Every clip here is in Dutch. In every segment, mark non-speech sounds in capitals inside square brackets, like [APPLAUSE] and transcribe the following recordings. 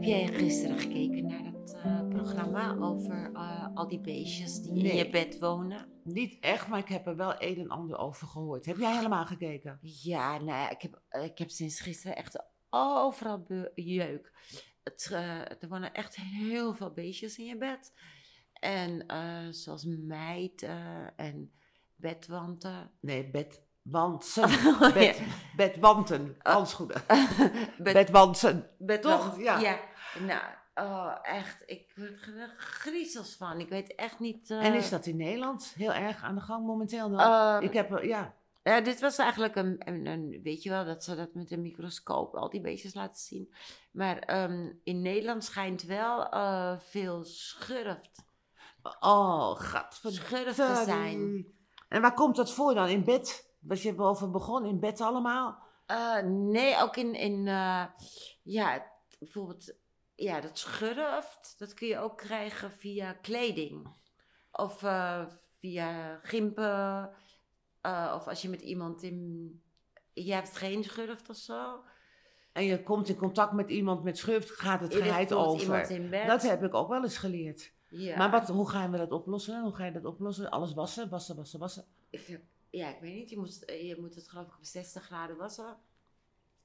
jij gisteren gekeken naar dat eh, programma over eh, al die beestjes die in Nee. je bed wonen? Niet echt, maar ik heb er wel een en ander over gehoord. Heb jij helemaal gekeken? Ja, nou ja, ik heb, eh, ik heb sinds gisteren echt overal be- jeuk. Het, eh, er wonen echt heel veel beestjes in je bed. En eh, zoals mijten en bedwanten. [LAUGHS] Nee, bedwansen. Oh, Bed, ja. Oh. Eh, bedwanten. Handschoenen. Bed- Bedwansen. Bed- Toch? Ja. Nou, oh, echt. Ik word er griezels van. Ik weet echt niet... eh, En is dat in Nederland heel erg aan de gang momenteel nog? eh, ik heb, er- ja. Ja, dit was eigenlijk een, een, een- weet je wel, dat ze dat met een microscoop al die beestjes laten zien. Maar ehm, in Nederland schijnt wel eh, veel schurft. Oh, gadverdamme. Schurft te zijn. En waar komt dat voor dan? In bed? Wat je over begon, in bed allemaal? Eh, nee, ook in, in eh, ja, bijvoorbeeld, ja, dat schurft, dat kun je ook krijgen via kleding. Of eh, via gimpen. eh, of als je met iemand in, je hebt geen schurft of zo. En je komt in contact met iemand met schurft, gaat het geheid Bijvoorbeeld over. Iemand in bed. Dat heb ik ook wel eens geleerd. Ja. Maar wat, hoe gaan we dat oplossen? Hoe ga je dat oplossen? Alles wassen, wassen, wassen, wassen. Ik heb- ja, ik weet niet. Je moet, je moet het geloof ik op 60 graden wassen.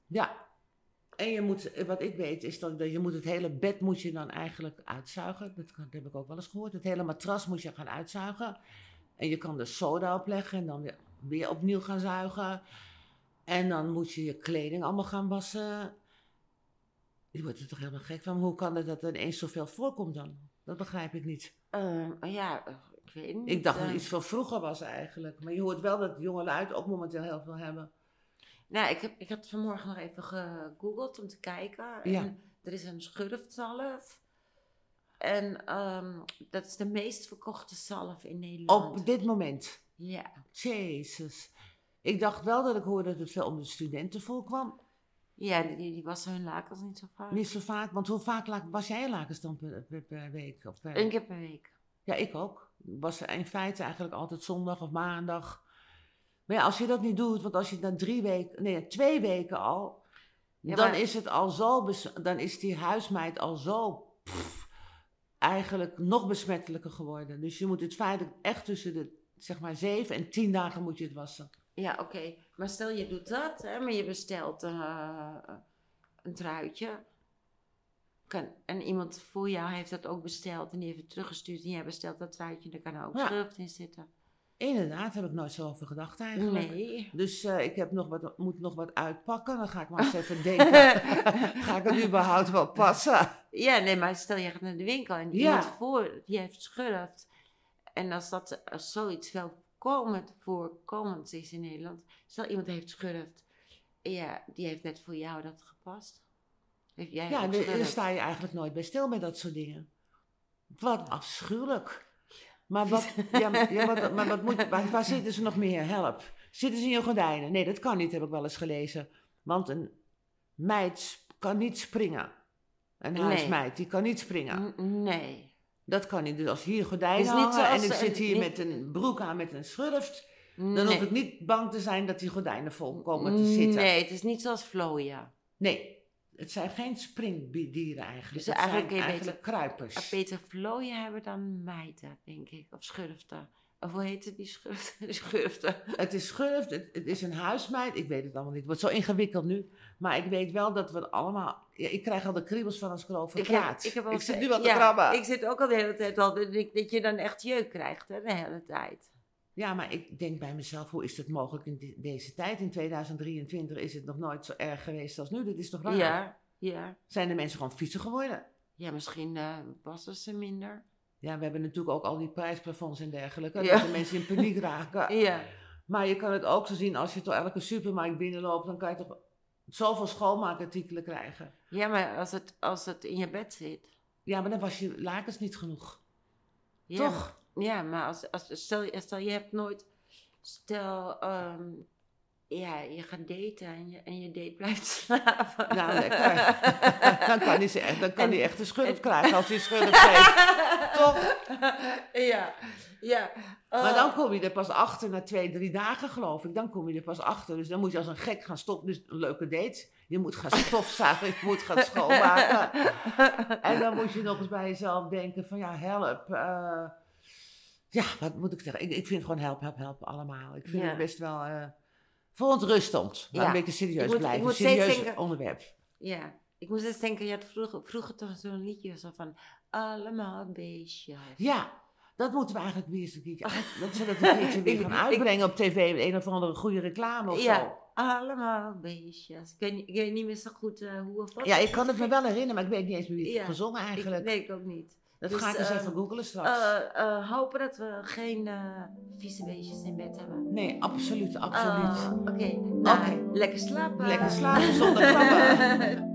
Ja. En je moet, eh, wat ik weet, is dat dat je moet het hele bed moet je dan eigenlijk uitzuigen. Dat, kan- dat heb ik ook wel eens gehoord. Het hele matras moet je gaan uitzuigen. En je kan er soda op leggen en dan weer, weer opnieuw gaan zuigen. En dan moet je je kleding allemaal gaan wassen. Je wordt er toch helemaal gek van. Hoe kan het dat er ineens zoveel voorkomt dan? Dat begrijp ik niet. Ehm, ja, eh, ik weet niet. Ik dacht dat eh. het iets van vroeger was eigenlijk. Maar je hoort wel dat jongeren uit ook momenteel heel veel hebben. Nou, ik, heb, ik had vanmorgen nog even gegoogeld om te kijken. En Ja. Er is een schurftzalf. En ehm, dat is de meest verkochte zalf in Nederland. Op dit moment. Ja. Jezus. Ik dacht wel dat ik hoorde dat het veel onder de studenten voorkwam. Ja, die, die wassen hun lakens niet zo vaak. Niet zo vaak, want hoe vaak la- was jij je lakens dan per, per- per week? Of per- Eén keer per week. Ja, ik ook. Ik was in feite eigenlijk altijd zondag of maandag. Maar ja, als je dat niet doet, want als je dan drie weken, nee, twee weken al, Ja, dan maar- is het al zo, bes- dan is die huismeid al zo pff, eigenlijk nog besmettelijker geworden. Dus je moet het feitelijk echt tussen de, zeg maar, zeven en tien dagen moet je het wassen. Ja, oké. Maar stel je doet dat, hè, maar je bestelt eh, een truitje. Kan, en iemand voor jou heeft dat ook besteld en die heeft het teruggestuurd en jij bestelt dat truitje, daar kan ook Ja. schurft in zitten. Inderdaad, heb ik nooit zo over gedacht eigenlijk. Nee. Dus eh, ik heb nog wat, moet nog wat uitpakken. Dan ga ik maar eens [LAUGHS] even denken. ga ik het überhaupt wel passen? ja, nee, maar stel je gaat naar de winkel en Ja. iemand voor die heeft schurft. En als dat als zoiets welkomend voorkomend is in Nederland, stel iemand heeft schurft, ja, die heeft net voor jou dat gepast. Heeft jij Ja, ook daar daar schurft? sta je eigenlijk nooit bij stil met dat soort dingen. Wat afschuwelijk. Maar [LAUGHS] wat, ja, maar- ja, wat, maar wat moet, waar, waar zitten ze nog meer? Help. Zitten ze in je gordijnen? Nee, dat kan niet, heb ik wel eens gelezen. Want een meid sp- kan niet springen. Een Nee. huismeid, die kan niet springen. N- Nee. Dat kan niet. Dus als hier gordijnen Het is niet hangen en ik zoals, eh, zit hier niet- met een broek aan met een schurft... Dan Dan hoef ik niet bang te zijn dat die gordijnen vol komen te zitten. Nee, het is niet zoals Floja. Nee, Het zijn geen springdieren eigenlijk. Dus het eigenlijk zijn kun je eigenlijk kruipers. Eh, Beter Floja hebben dan meiden, denk ik. Of schurften. Of hoe heet het, die schurften? [LAUGHS] Die schurften. Het is schurft, het, het is een huismeid. Ik weet het allemaal niet. Het wordt zo ingewikkeld nu. Maar ik weet wel dat we allemaal... Ja, ik krijg al de kriebels van als ik erover praat. al zit eens- nu al te ja, krabben. Ik zit ook al de hele tijd al, dat ik- dat je dan echt jeuk krijgt, hè, de hele tijd. Ja, maar ik denk bij mezelf, hoe is dat mogelijk in de- deze tijd? In 2023 is het nog nooit zo erg geweest als nu. Dat is toch raar? Ja, ja. Zijn de mensen gewoon vieze geworden? Ja, misschien eh passen ze minder. Ja, we hebben natuurlijk ook al die prijsplafonds en dergelijke. Ja. Dat de mensen in paniek [LAUGHS] raken. Ja. Maar je kan het ook zo zien als je door elke supermarkt binnenloopt, dan kan je toch zoveel schoonmaakartikelen krijgen. Ja, maar als het, als het in je bed zit. Ja, maar dan was je lakens niet genoeg. Ja, [LAUGHS] Toch? Ja, maar als, als, stel, je- stel je hebt nooit. Stel, ehm, ja, je gaat daten en je, en je date blijft [LAUGHS] slapen. Nou, lekker. [LAUGHS] dan kan hij, ze- dan kan En- hij echt een schurf en- krijgen als hij een schurf geeft. [LAUGHS] Toch? Ja, ja. Maar Oh. dan kom je er pas achter, na twee, drie dagen geloof ik. Dan kom je er pas achter. Dus dan moet je als een gek gaan stoppen. Dus een leuke date. Je moet gaan stofzuigen, je moet gaan [LAUGHS] schoonmaken. En dan moet je nog eens bij jezelf denken van ja, help. eh, ja, wat moet ik zeggen? Ik, ik vind gewoon help, help, help allemaal. Ik vind Ja. het best wel eh verontrustend. Maar Ja. een beetje serieus Ik moet- ik blijven. moet steeds serieus denken- onderwerp. Ja, ik moest eens denken, je had vroeger, vroeger toch zo'n liedje zo van allemaal beestjes. Ja, dat moeten we eigenlijk weer eens een keertje, uit- dat ze dat [LAUGHS] een keertje weer Ik- gaan ik- uitbrengen op tv. Met een of andere goede reclame of Ja. zo. Allemaal beestjes. Ik weet, niet- ik weet niet meer zo goed eh, hoe of wat. Ja, ik kan het me wel herinneren, maar ik weet niet eens meer wie het Ja, gezongen Ik- eigenlijk. nee, ik ook niet. dat dus, ga ik eens eh, even googelen straks. Eh, eh, hopen dat we geen eh, vieze beestjes in bed hebben. nee, absoluut, absoluut. Ah, Oké, nou, Oké. lekker slapen. [LAUGHS] Lekker slapen zonder krabben.